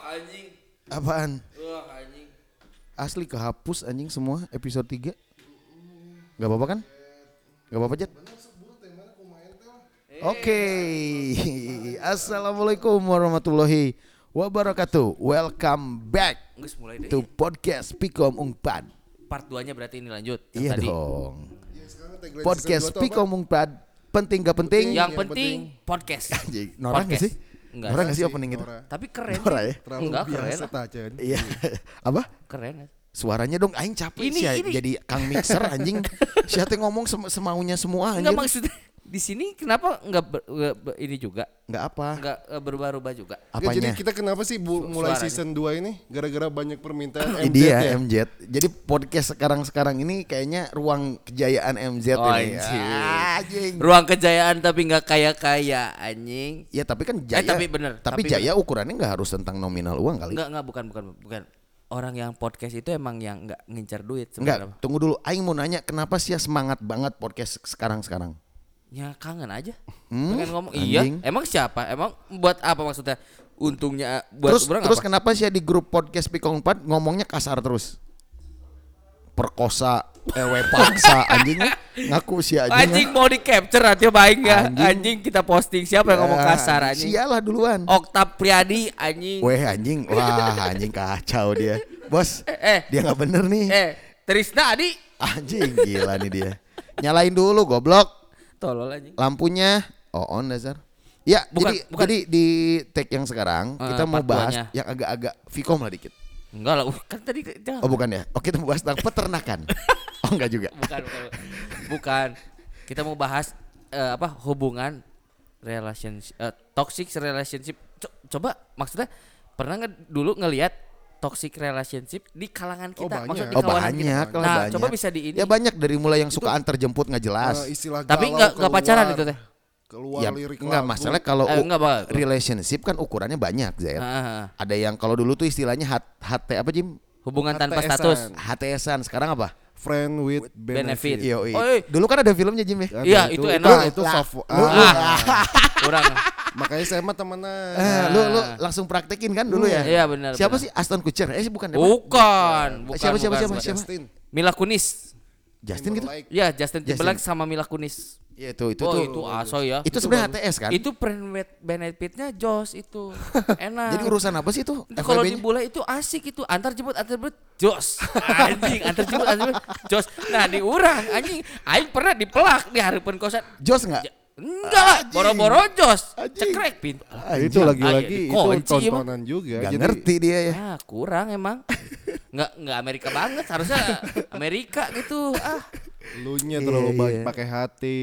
anjing. Apaan? Wah, anjing. Asli kehapus anjing semua episode 3. Gak apa-apa kan? Gak apa-apa, Jet? Oke. Assalamualaikum warahmatullahi wabarakatuh. Welcome back Nggak mulai deh. to podcast Pikom Ungpad. Part 2-nya berarti ini lanjut. Yang Iya tadi. dong. Yang Iya, sekarang tagline Podcast season dua tuh Pikom Ungpad penting gak penting. Iya, Yang Yang penting penting. podcast. Anjing, Norak gak Podcast. sih? Enggak. Norak apa? gak sih opening gitu. itu? Nora. Tapi keren. Norak ya? Terlalu Enggak, keren. biasa lah. tajen. Iya. Apa? Keren. lah. Suaranya dong aing capek Ini, sih ya, ini. jadi kang mixer anjing. Siapa ngomong sem- semaunya semua anjir. Enggak maksudnya di sini kenapa enggak ber- enggak ber- ini juga? Enggak apa. Enggak eh, berubah-ubah juga. Nggak, Apanya? jadi kita kenapa sih bu- mulai suaranya. season 2 ini gara-gara banyak permintaan Ini MZ dia ya? MZ. Jadi podcast sekarang-sekarang ini kayaknya ruang kejayaan MZ Oh, ini. anjing. Ah, anjing. Ruang kejayaan tapi enggak kaya-kaya anjing. Ya tapi kan Eh, jaya. tapi bener, Tapi, tapi jaya ukurannya nggak harus tentang nominal uang kali. Enggak, enggak bukan bukan bukan. Orang yang podcast itu emang yang enggak ngincer duit Enggak, sebenarnya. tunggu dulu. Aing mau nanya kenapa sih ya semangat banget podcast sekarang-sekarang? Ya kangen aja. Hmm, Pengen ngomong iya. anjing. Emang siapa? Emang buat apa maksudnya? Untungnya eh, buat Terus orang terus apa? kenapa sih ya di grup podcast Pikong 4 ngomongnya kasar terus? Perkosa, ewe paksa anjing ngaku sih anjing. Anjing mau di capture nanti baik nggak? Anjing. Ya, Anjing. kita posting siapa yang ngomong kasar anjing? Oh. Sialah duluan. Okta Priadi anjing. Weh anjing, wah anjing kacau dia. Bos, Eh, eh. dia nggak bener nih. Eh, Trisna Adi. Anjing gila nih dia. Nyalain dulu goblok Tolol anjing. lampunya. Oh on dasar. Ya, Bukan, jadi bukan. jadi di tag yang sekarang Eh, kita mau part bahas duanya. yang agak-agak Vicom lah dikit. Enggak lah, kan tadi jangan. Oh bukan ya? Oh kita mau bahas tentang peternakan. Oh enggak juga. bukan, bukan. Bukan. Kita mau bahas eh, apa? Hubungan relationship eh, toxic relationship. Co- coba maksudnya pernah nggak dulu ngelihat toxic relationship di kalangan Oh, kita banyak. maksudnya di Oh kawanan kita? banyak lah nah, banyak. coba bisa di ini. Ya banyak dari mulai yang suka antar jemput nggak Eh, jelas. istilah Tapi galau nggak- nggak pacaran keluar- itu teh? Keluar ya lirik enggak lagu. masalah kalau Eh, u- nggak bakal. relationship kan ukurannya banyak, Zaid. Ah, ah, ah. Ada yang kalau dulu tuh istilahnya hat, HT apa Jim? hubungan tanpa HTS-an. status. HTSan sekarang apa? Friend with Benefit. benefit. Iya. Yoi. Oi. Dulu kan ada filmnya Jim ya. Ada Iya, itu enak. Nah, itu Lah, favo- lu- ah, Kurang. makanya saya mah temenan. Eh, lu lu langsung praktekin kan dulu ya? Iya, benar, Siapa benar. Oh. sih Aston Kutcher? Eh bukan. apa? Bukan, bukan. siapa, siapa, bukan, siapa, bukan. siapa? Justin. Mila Kunis. Justin gitu. Timberlake. Ya, Justin Timberlake Justin. sama Mila Kunis. Iya itu itu oh, tuh. itu asoy ya. Itu sebenarnya HTS kan? Itu brand with benefitnya Jos itu. Enak. Jadi urusan apa sih itu? Itu kalau FWB-nya? di bola itu asik itu antar jemput antar jemput jos anjing antar jemput antar jemput jos nah di urang anjing aing pernah dipelak di hari penkosan Jos enggak? Ja- enggak lah boro-boro jos Anjing. cekrek pintu Ah, itu Ah, iya, lagi-lagi itu dikunci, emang. tontonan juga. Enggak Jadi ngerti dia ya. Ah, kurang emang. Nggak nggak Amerika banget, harusnya Amerika gitu. Ah, lu nya Iya, terlalu banyak iya. pakai hati.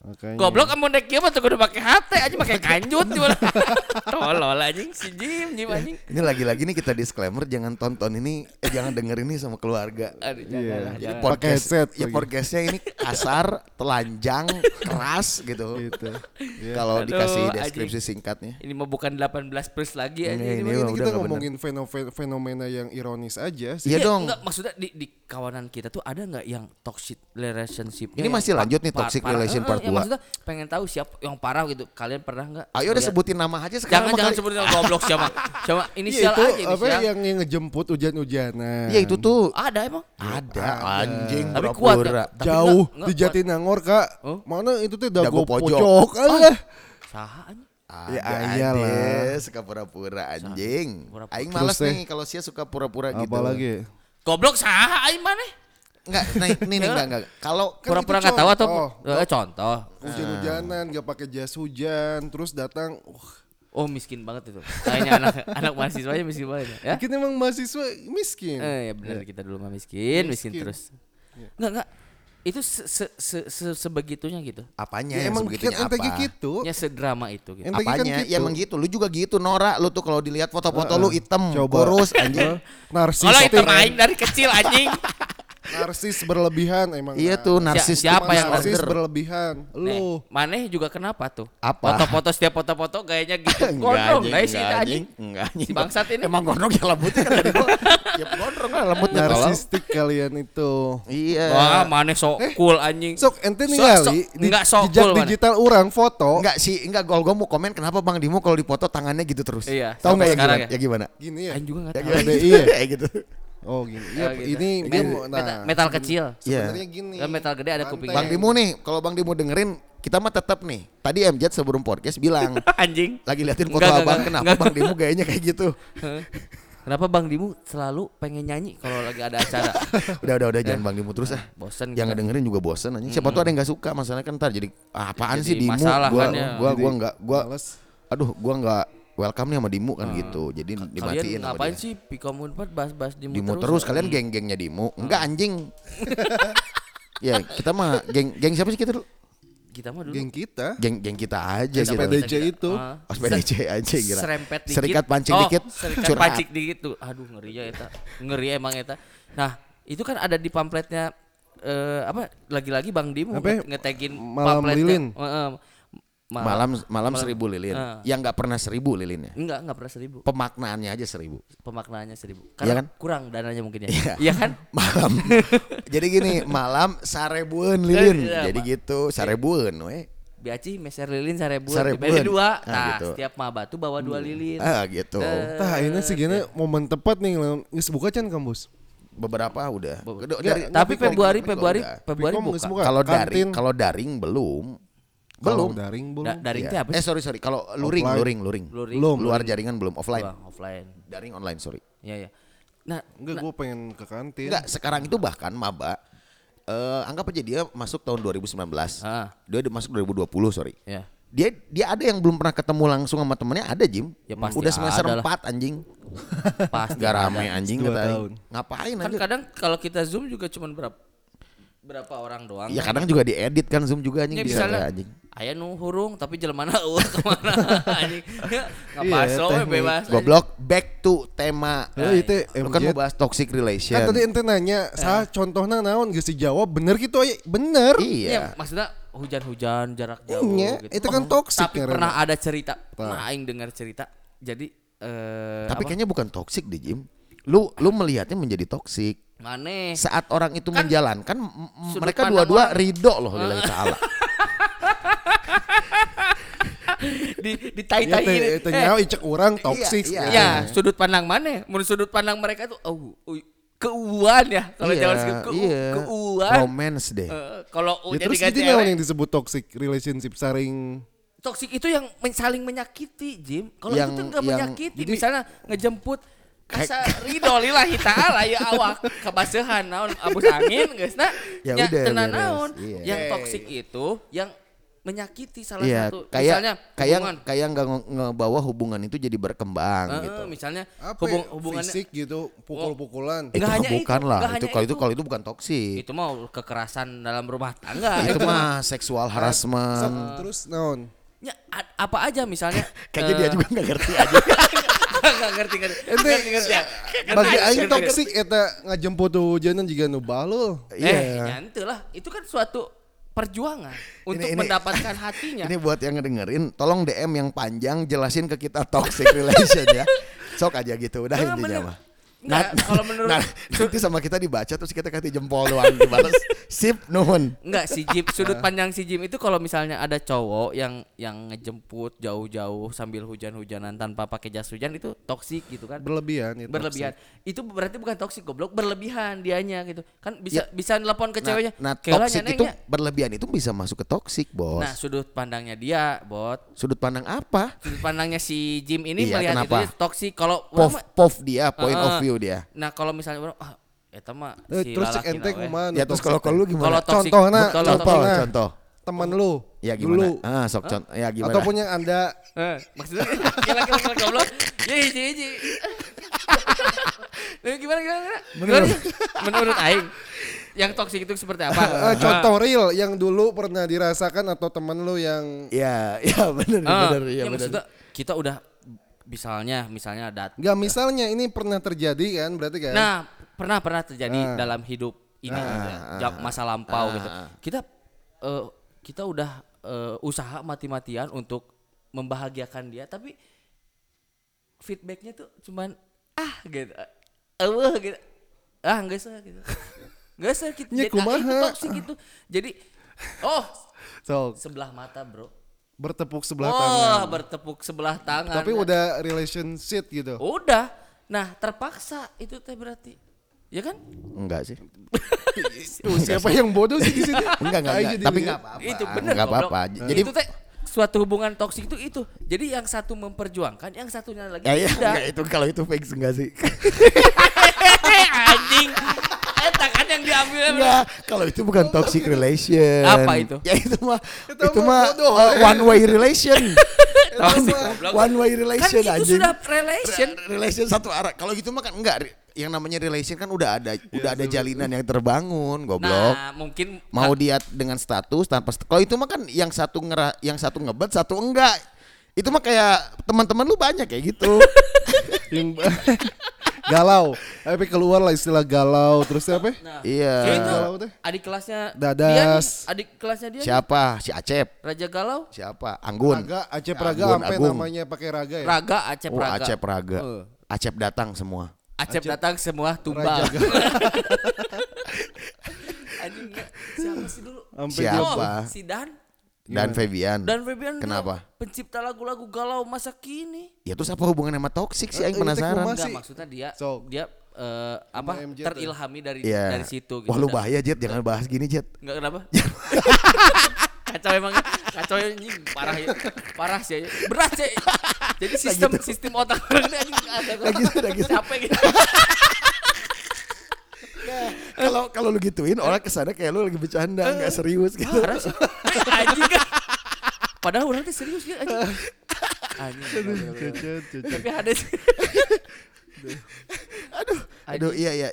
Makanya. goblok kamu naik kieu mah tuh kudu pakai hate aja pakai kanjut gimana. Tolol anjing si Jim, Jim anjing. Ini lagi-lagi nih kita disclaimer jangan tonton ini, eh, jangan denger ini sama keluarga. Aduh, jangan lah, Jadi jangan. Pakai podcast, headset ya lagi. podcastnya ini kasar, telanjang, keras gitu. gitu. Iya. Kalau Aduh, dikasih anjing. deskripsi singkatnya. Ini mah bukan 18 plus lagi Ini, anjing. ini Iya, Ini Iya, udah kita nggak bener. ngomongin fenomena, fenomena yang ironis aja sih. Iya dong. Enggak, maksudnya di, di kawanan kita tuh ada nggak yang toxic relationship? Ini masih lanjut nih, toxic relation part dua. ya maksudnya pengen tahu siapa yang parah gitu. Kalian pernah nggak? Ayo udah ngeliat- sebutin nama aja sekarang. Iya. kan- Jangan jangan makanya- sebutin goblok siapa. Siapa Iya inisial itu aja apa ya? inisial. yang, yang ngejemput hujan-hujanan. Iya itu tuh Ada emang? ada Iya. anjing Tapi pura-pura. kuat nggak? Tapi jauh nggak- nggak di Jatinangor kak. Oh. Mana itu tuh Dago dago, pojok. Ah, pojok. alah. Saha anjing. Ada Ya, ayalah. aja, suka pura-pura anjing. Pura-pura. Aing malas Terus deh. nih kalau sia suka pura-pura gitu. Apalagi Goblok saha aing mana? Enggak, nah, nih nih enggak enggak. Kalau Kan Pura-pura itu nggak tahu atau contoh. Eh, contoh. hujan-hujanan gak pakai jas hujan terus datang. Uh, Oh miskin banget itu. Kayaknya anak anak mahasiswanya miskin banget ya. Kita emang mahasiswa miskin. Eh ya Iya. benar kita dulu mah miskin, miskin, Miskin. terus. Enggak enggak. Itu se, se, se, se- sebegitunya gitu. apanya Ya, yang emang kan sebegitunya apa? entah gitu. Ya sedrama itu gitu. Yang tadi kan Apanya? gitu. Ya emang gitu. Lu juga gitu Nora, lu tuh kalau dilihat foto-foto lu item, Eh, Coba. Eh, kurus anjing. Narsis. kan, Kalau itu main dari kecil anjing. narsis berlebihan emang. Iya Kak. tuh narsis siapa tuh yang disorder. narsis berlebihan? Eh. Nah, Nih, Lu. Maneh juga kenapa tuh? Apa? Foto-foto setiap foto-foto gayanya gitu. Enggak Gondrong, anjing, guys, sih enggak anjing. Enggak anjing. Si bangsat ini. Emang gondrong ya lembutnya kan dari gua. Ya gondrong lah lembutnya tolong. Narsistik kalian itu. Iya. Wah, Maneh sok Eh, cool anjing. Sok ente nih Sok, kali sok. di Enggak, sok jejak cool, Wan. digital orang foto Enggak sih, enggak gol gua mau komen kenapa Bang Dimo kalau dipoto tangannya gitu terus. Iya, Tahu sampai enggak ya sekarang gimana? Ya, ya? gimana? gini ya. Anjing juga enggak Ya tahu. gimana? Ada iya. Kayak gitu. Oh gini. Oh, Iya, gitu. ini dia mau- nah, Metal, metal kecil. Iya. sebenarnya gini. Kan metal gede ada kupingnya. Bang Dimo nih, kalau Bang Dimo dengerin kita mah tetap nih. Tadi MJ sebelum podcast bilang anjing. lagi liatin foto Enggak, enggak, abang enggak, kenapa enggak. Bang Dimo gayanya kayak gitu. Heh. Kenapa Bang Dimu selalu pengen nyanyi kalau lagi ada acara? Udah udah udah jangan Bang Dimo terus ah. Bosen gitu. Yang kita. dengerin juga bosen anjing. Siapa tuh ada yang gak suka masalahnya kan ntar jadi ah, apaan Jadi sih Dimo? masalah Gua kan ya. gua gua enggak gua Males. aduh gua nggak welcome nih sama Dimu kan gitu jadi dimatiin Mm. Kalian sama ngapain dia. sih Pika Unpad bahas-bahas Dimu, Mm. Dimu terus, kalian geng-gengnya Dimu enggak anjing ya kita mah geng geng siapa sih kita dulu Kita mah dulu. Geng kita. geng geng kita aja gitu Geng SPDJ itu. Iya, Ah. Oh, SPDJ aja gila Serempet dikit. gitu. serikat pancing Oh, dikit Serikat curhat pancing dikit tuh. Aduh ngeri ya eta. Ngeri emang eta. Nah, itu kan ada di pamfletnya eh apa lagi-lagi Bang Dimu Apa ya? nge- ngetegin Malam pamfletnya. lilin. Heeh. Ma- malam malam seribu lilin Ah. yang nggak pernah seribu lilinnya enggak enggak pernah seribu. pemaknaannya aja seribu Pemaknaannya seribu. Iya Karena kan? kurang dananya mungkin ya. Iya. Iya kan? malam jadi gini malam sarebuan Eh, lilin iya, jadi Pak. gitu sarebuan weh Biaci meser lilin sarebuan, Sarebuan. dibayar dua. Ah, Nah, gitu. setiap maba tuh bawa dua lilin. ah gitu Eh. Tah, Oh, ini sih gini Iya. momen tepat nih ngelawan- geus buka can kampus. beberapa udah Bo- Dari- Enggak, dari- tapi kalau- Februari kalau Februari udah. Februari Pikom buka. nggak semua. kalau daring Kantin. kalau daring belum belum Kalau daring belum. Da- daring Iya. itu apa sih? eh sorry sorry kalau luring Offline. luring luring Luring. Belum. luar jaringan belum offline Doang, offline. daring online sorry Iya, iya. Nah, Enggak, gue pengen ke kantin. enggak sekarang itu bahkan maba eh, anggap aja dia masuk tahun 2019 Ah. dia udah masuk 2020 sorry ya. dia dia ada yang belum pernah ketemu langsung sama temennya ada Jim Ya, pasti udah semester ada lah. 4 anjing Pasti gak rame anjing Dua kata aing. tahun. ngapain Kan aja kadang kalau kita zoom juga cuman berapa berapa orang doang. ya Iya kadang juga diedit kan zoom juga anjing Ya, bisa misalnya- ya, anjing Aya nu hurung tapi jelema eueuh kemana anjing. Enggak Iya, paso we, teknik. bebas. anjing. goblok back to tema Eh, itu Lu kan MJ. mau bahas toxic relation. Iya. Kan tadi ente nanya, sah contohnya naon geus dijawab bener gitu aya. Bener. Iya, iya. maksudnya hujan-hujan jarak jauh Iya, gitu. itu kan toksik Tapi ya, pernah ada cerita, pernah aing dengar cerita. Jadi eh Tapi kan apa? kayaknya bukan toxic deh Jim. Lu lu melihatnya menjadi toxic Maneh saat orang itu menjalankan m- m- Eh. Kan sudut mereka pandang Ah. dua-dua ridho loh lillahi taala. di di Iya, tai-tai ini. teh nyawa icek orang toksik. iya. gitu. Ya, sudut pandang mana? Menurut sudut pandang mereka tuh oh, uy, keuan ya kalau Iya, jalan segitu keu, iya. keuan. Romance deh. Eh, kalau u Ya, jadi terus ganti itu naon cewek, yang disebut toxic relationship saring toksik itu yang men- saling menyakiti, Jim. Kalau Yang- itu enggak yang- menyakiti, jadi- misalnya ngejemput Asa ridho lillahi ta'ala ya awak kebasehan naon abus angin geusna Ya nya udah, tena beres, naon iya. yang toksik itu yang menyakiti salah Iya, satu kayak misalnya kayak hubungan kayak nggak nge- ngebawa hubungan itu jadi berkembang Eh, gitu. misalnya apa hubung, ya, hubungannya fisik gitu, pukul-pukulan. Eh, itu nggak hanya bukan itu, lah. nggak Itu hanya kalau itu itu. kalau itu bukan toxic. itu mau kekerasan dalam rumah tangga Iya, gitu. Itu mah seksual Sok, harassment. terus naon? Ya, a- apa aja misalnya Eh, Kayaknya dia juga nggak ngerti aja. nggak ngerti ngerti ngerti ngerti ya Ngerti, Bagi ngerti, aing ngerti, ngerti. toksik eta ngajemput tuh hujanan juga nu balul. eh nyantu lah itu kan suatu perjuangan untuk Iya. ini- mendapatkan hatinya Nah, Ini buat yang ngedengerin, tolong DM yang panjang jelasin ke kita toxic relation ya. Sok aja gitu, udah Jangan intinya bener. mah. Nggak, kalau menurut Nah, nanti sama kita dibaca terus kita kasih jempol doang dibalas. Sip, nuhun. Enggak si Jim sudut pandang si Jim itu kalau misalnya ada cowok yang yang ngejemput jauh-jauh sambil hujan-hujanan tanpa pakai jas hujan itu toksik gitu kan Berlebihan iya, iya, itu. berlebihan itu berarti bukan toksik goblok berlebihan dianya gitu kan bisa bisa nelpon ke ceweknya Ya. Nah, nah "Keula toxic nyaneng itu nya." berlebihan itu bisa masuk ke toxic, Bos. nah sudut pandangnya dia bot Sudut pandang apa? sudut pandangnya si Jim ini Iya, melihat kenapa? itu toksik kalau Pov orang mah- pov dia, point Heeh. of view dia. nah kalau misalnya orang ah eta mah Eh, si terus cek lalaki ente na we. kumaha? Ya terus kalau kalau lu Kalau gimana? toxic Contohna, kalau contoh, toxic- contoh. Teman lu. Ya Dulu. gimana? Ah, sok contoh. Ya gimana? Ataupun yang Anda Eh, maksudnya gila gila gila goblok. Ya hiji hiji. Nah, gimana gimana? gimana? Menurut menurut aing yang toksik itu seperti apa? eh, contoh real yang dulu pernah dirasakan atau teman lu yang Ya, ya benar, Ah, benar, ya ya, iya, benar. maksudnya kita udah misalnya misalnya dat Gak misalnya ini pernah terjadi kan berarti kan? Nah, pernah pernah terjadi Ah. dalam hidup ini Ah, gitu ya, ah, jam- masa lampau ah, gitu. ah. Kita eh, kita udah eh, usaha mati-matian untuk membahagiakan dia tapi feedbacknya tuh cuman ah gitu. Eueuh gitu. Ah enggak sih gitu. Enggak sih gitu. Jadi, ah, itu Nya Iya, kumaha. toxic itu. Jadi oh So, sebelah mata, Bro. bertepuk sebelah Wah, tangan. bertepuk sebelah tangan. Tapi udah relationship gitu. Udah. Nah, terpaksa itu teh berarti. Ya kan? Enggak sih. Tuh, siapa yang bodoh sih di sini? Enggak, enggak, Ayo enggak. jadi Tapi lihat. enggak apa-apa. Itu bener Enggak goblok. apa-apa. Jadi itu teh suatu hubungan toksik itu itu. Jadi yang satu memperjuangkan, yang satunya lagi ya, ya, tidak. enggak itu kalau itu fix enggak sih? Anjing. Eta kan yang diambil. Enggak, kalau itu bukan toxic relation. Apa itu? Ya itu mah itu, Itu mah mah bodoh, uh, ya. one way relation. one, eh. goblok. one way Kan relation itu anjing. sudah relation. Re- relation satu arah. Kalau gitu mah kan enggak Ri. yang namanya relation kan udah ada Iya, udah ada jalinan yang terbangun, goblok. Nah, mungkin Mau dia dengan status tanpa st- kalau itu mah kan yang satu ngera yang satu ngebet, satu enggak. Itu mah kayak teman-teman lu banyak kayak gitu. Yang- galau. Tapi keluar lah istilah galau. Terus apa? ya? nah, ya Iya. itu Galau deh. adik kelasnya Dadas. dia nih, adik kelasnya dia nih, Siapa? Si Acep. Raja Galau, Siapa? Anggun. Raga, Aceh Ya, Praga, Anggun, sampai Agung. namanya pakai raga ya. Raga, Acep Oh, Raga. Acep Raga. Eh. Acep datang semua. Acep datang semua tumbal. Anjing nggak, siapa sih dulu? Sampai Siapa? Oh, si Dan Dan Febian. dan Fabian dia Kenapa? pencipta lagu-lagu galau masa kini. Ya terus apa hubungannya sama toxic sih Eh, aing itu penasaran. kumas. Enggak Masih- maksudnya dia So. dia eh, apa Sama MJ tuh. terilhami dari Iya. dari situ gitu. Wah lu Dan- bahaya Jet, jangan bahas gini Jet. Enggak kenapa? kacau emang ya. kacau anjing parah ya. Parah sih. anjing. Berat sih. Jadi sistem sistem otak orang ini anjing kacau. Lagi gitu, lagi gitu. Capek gitu. Kalau kalau lu gituin orang kesana kayak lu lagi bercanda, nggak serius gitu. Eh. Parah sih. Anjing. Padahal orang tuh serius gitu anjing. Anjing. Tapi ada sih. Aduh, aduh iya iya.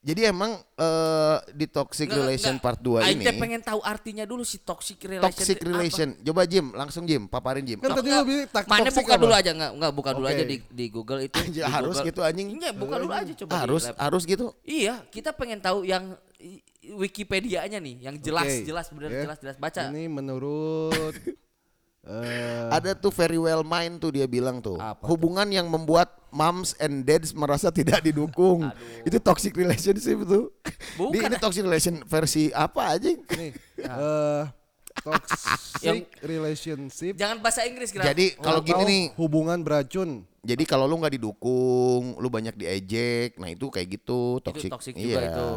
Jadi emang eh, di toxic relation part 2 Aing ini teh pengen tahu artinya dulu si toxic relation. toxic teh apa. relation. Coba Jim, langsung Jim, paparin Jim. Kan tadi lu bilang tak- Mana toxic buka apa? dulu aja enggak enggak buka dulu Oke. aja di di Google itu. Anjing, di harus Google. gitu, anjing. Iya, buka dulu aja coba. di harus lab. harus gitu. Iya, kita pengen tahu yang i- Wikipedia-nya nih, yang jelas Oke, jelas bener Iya. ya. jelas jelas baca. Ini menurut eh Ada tuh very well mind tuh dia bilang tuh. Apa hubungan yang membuat moms and dads merasa tidak didukung. Itu toxic relationship tuh. Bukan, ya? Di- ini toxic relation versi apa aja? nih eh toxic Nah. Yang- relationship Jangan bahasa Inggris Oh, kira. Jadi kalau atau gini nih, hubungan beracun. jadi kalau lu nggak didukung, lu banyak diejek, nah itu kayak gitu toxic. toxic juga itu.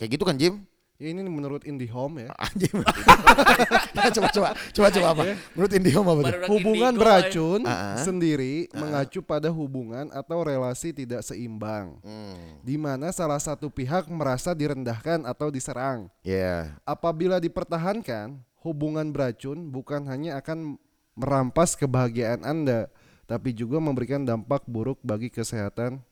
Kayak gitu kan Jim? Ya, ini menurut IndiHome ya. Anjing. Nah, coba coba coba coba apa? Menurut Indihome apa tuh? Iya. Baru- Orang Hubungan Indigo, beracun Ah. sendiri mengacu pada hubungan atau relasi tidak seimbang Hmm. di mana salah satu pihak merasa direndahkan atau diserang. Ya. Apabila dipertahankan, hubungan beracun bukan hanya akan merampas kebahagiaan Anda, tapi juga memberikan dampak buruk bagi kesehatan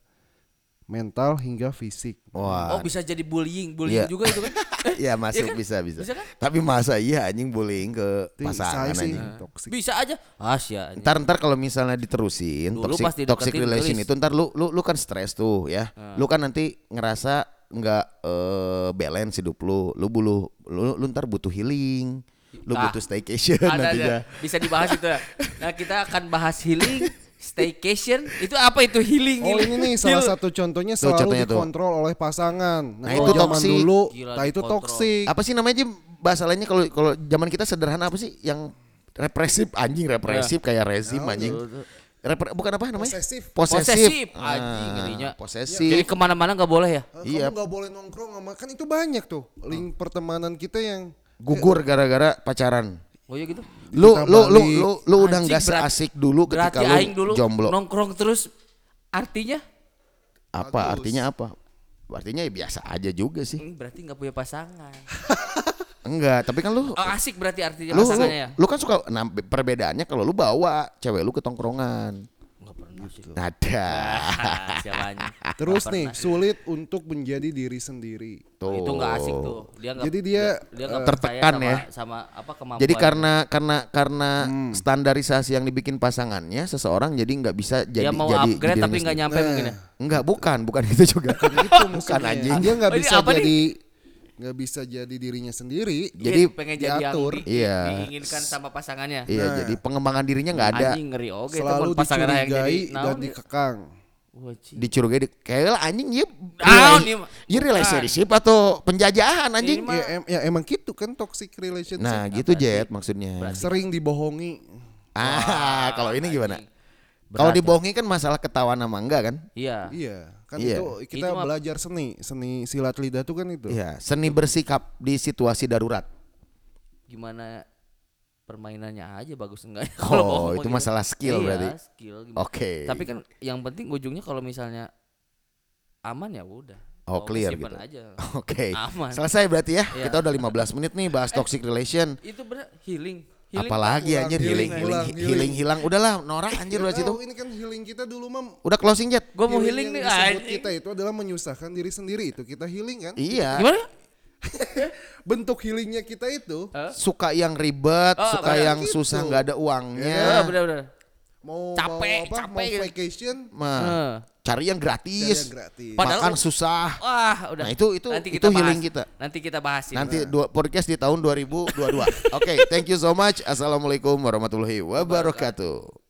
mental hingga fisik. oh Wah. bisa jadi bullying, bullying Iya. juga itu kan. Eh, Iya Iya masuk kan? bisa bisa. Bisa kan? Tapi masa iya anjing bullying ke Itu pasangan saya sih anjing. toxic. bisa aja. Ah, Asia. Ntar ntar kalau misalnya diterusin Dulu toxic, pas dideketin toxic relation tulis. itu ntar lu lu lu kan stres tuh ya. Ah. Lu kan nanti ngerasa nggak eh, balance hidup lu. Lu bulu lu, lu ntar butuh healing. Lu Ah. butuh staycation Ada, ada. nantinya. Bisa dibahas itu ya. Nah, kita akan bahas healing, staycation. Itu apa itu healing? Oh healing? ini nih Heal. salah satu contohnya Tuh, selalu contohnya tuh. dikontrol oleh pasangan. Nah, Nah, kalau itu zaman toksik. dulu, Gila, nah itu dikontrol. toksik. Apa sih namanya Jim? Bahasa lainnya kalau kalau zaman kita sederhana apa sih yang represif anjing represif Ya. kayak rezim anjing. Repre- bukan apa namanya? Posesif. Posesif, Posesif. Ah. anjing, ininya. Jadi Posesif. kemana mana nggak boleh ya? Iya. Kamu nggak boleh nongkrong sama kan itu banyak tuh link pertemanan kita yang Gugur gara-gara pacaran. Oh iya gitu. lu Kita lu lu balik. lu lu udah Anjing, nggak berat- seasik dulu Berarti ketika lu aing dulu jomblo nongkrong terus artinya apa artinya apa artinya ya biasa aja juga sih "Hmm, berarti nggak punya pasangan. enggak tapi kan lu Oh, asik berarti artinya lu lu, pasangannya ya. lu kan suka nah, be- perbedaannya kalau lu bawa cewek lu ke tongkrongan Enggak pernah sih. ada Ah, Siapa anjing. Terus nih sulit untuk menjadi diri sendiri. Nah, itu nggak asik tuh. Dia nggak Jadi dia, dia nggak eh, percaya tertekan sama, ya. sama apa kemampuan. Jadi karena karena karena Hmm. standarisasi yang dibikin pasangannya seseorang jadi nggak bisa jadi dia mau jadi upgrade jadi Eh, tapi nggak nyampe Nah, mungkin ya. Enggak, bukan, bukan itu juga. itu bukan maksudnya. anjing. Dia nggak Oh, ini bisa Gitu apa nih? jadi nggak bisa jadi dirinya sendiri. Dia Jadi pengen jadi yang diatur. di- Iya. diinginkan sama pasangannya. Iya, Nah. jadi pengembangan dirinya nggak ada. Anjing ngeri oke selalu teman pasangan yang jadi. dicurigai dan naon ya? dikekang. Wajib. Dicurigai di- kayak lah anjing ya. Ah, ini mah- Iya relationship atau penjajahan anjing. Ini mah- Ya, em- ya emang gitu kan toxic relationship. Nah, gitu Jet maksudnya. Sering dibohongi. Ah, kalau ini Iya. gimana? Berat Kalau ya. dibohongi kan masalah ketahuan sama enggak kan? Iya. Iya, kan Iya. itu kita Itu mah- belajar seni, seni silat lidah tuh kan itu. Iya, seni bersikap di situasi darurat. Gimana permainannya aja bagus enggak? ya? mau Oh, gitu. itu masalah skill Iya, berarti. skill gimana. Oke. Tapi kan yang penting ujungnya kalau misalnya aman ya udah. Mau Oh, clear kesimpan gitu. Aja. Oke. Aman. Selesai berarti ya. Iya. Kita udah 15 menit nih bahas toxic relation. Itu benar healing. healing Iya, Apalagi pulang, anjir healing, healing healing pulang, healing. healing hilang. Udahlah, norak anjir udah Nggak situ. tahu, ini kan healing kita dulu mam. Udah closing jet. Gue mau healing nih yang disebut anjing. ya. kita itu adalah menyusahkan diri sendiri itu kita healing kan. Iya. Gimana? Bentuk healingnya kita itu Eh, Suka yang ribet, Oh, suka benar. yang Gitu. susah nggak ada uangnya. Ya, Iya, benar-benar. mau Capek, mau apa? capek mau gitu. vacation Mah, Heeh. cari yang cari gratis. yang gratis. Pa- Ah. Padahal- makan susah. Wah, Ah, udah. Nah, itu- itu- itu healing kita. Nanti kita bahas ini. Nanti dua podcast di tahun 2022. Oke, thank you so much. Assalamualaikum warahmatullahi wabarakatuh.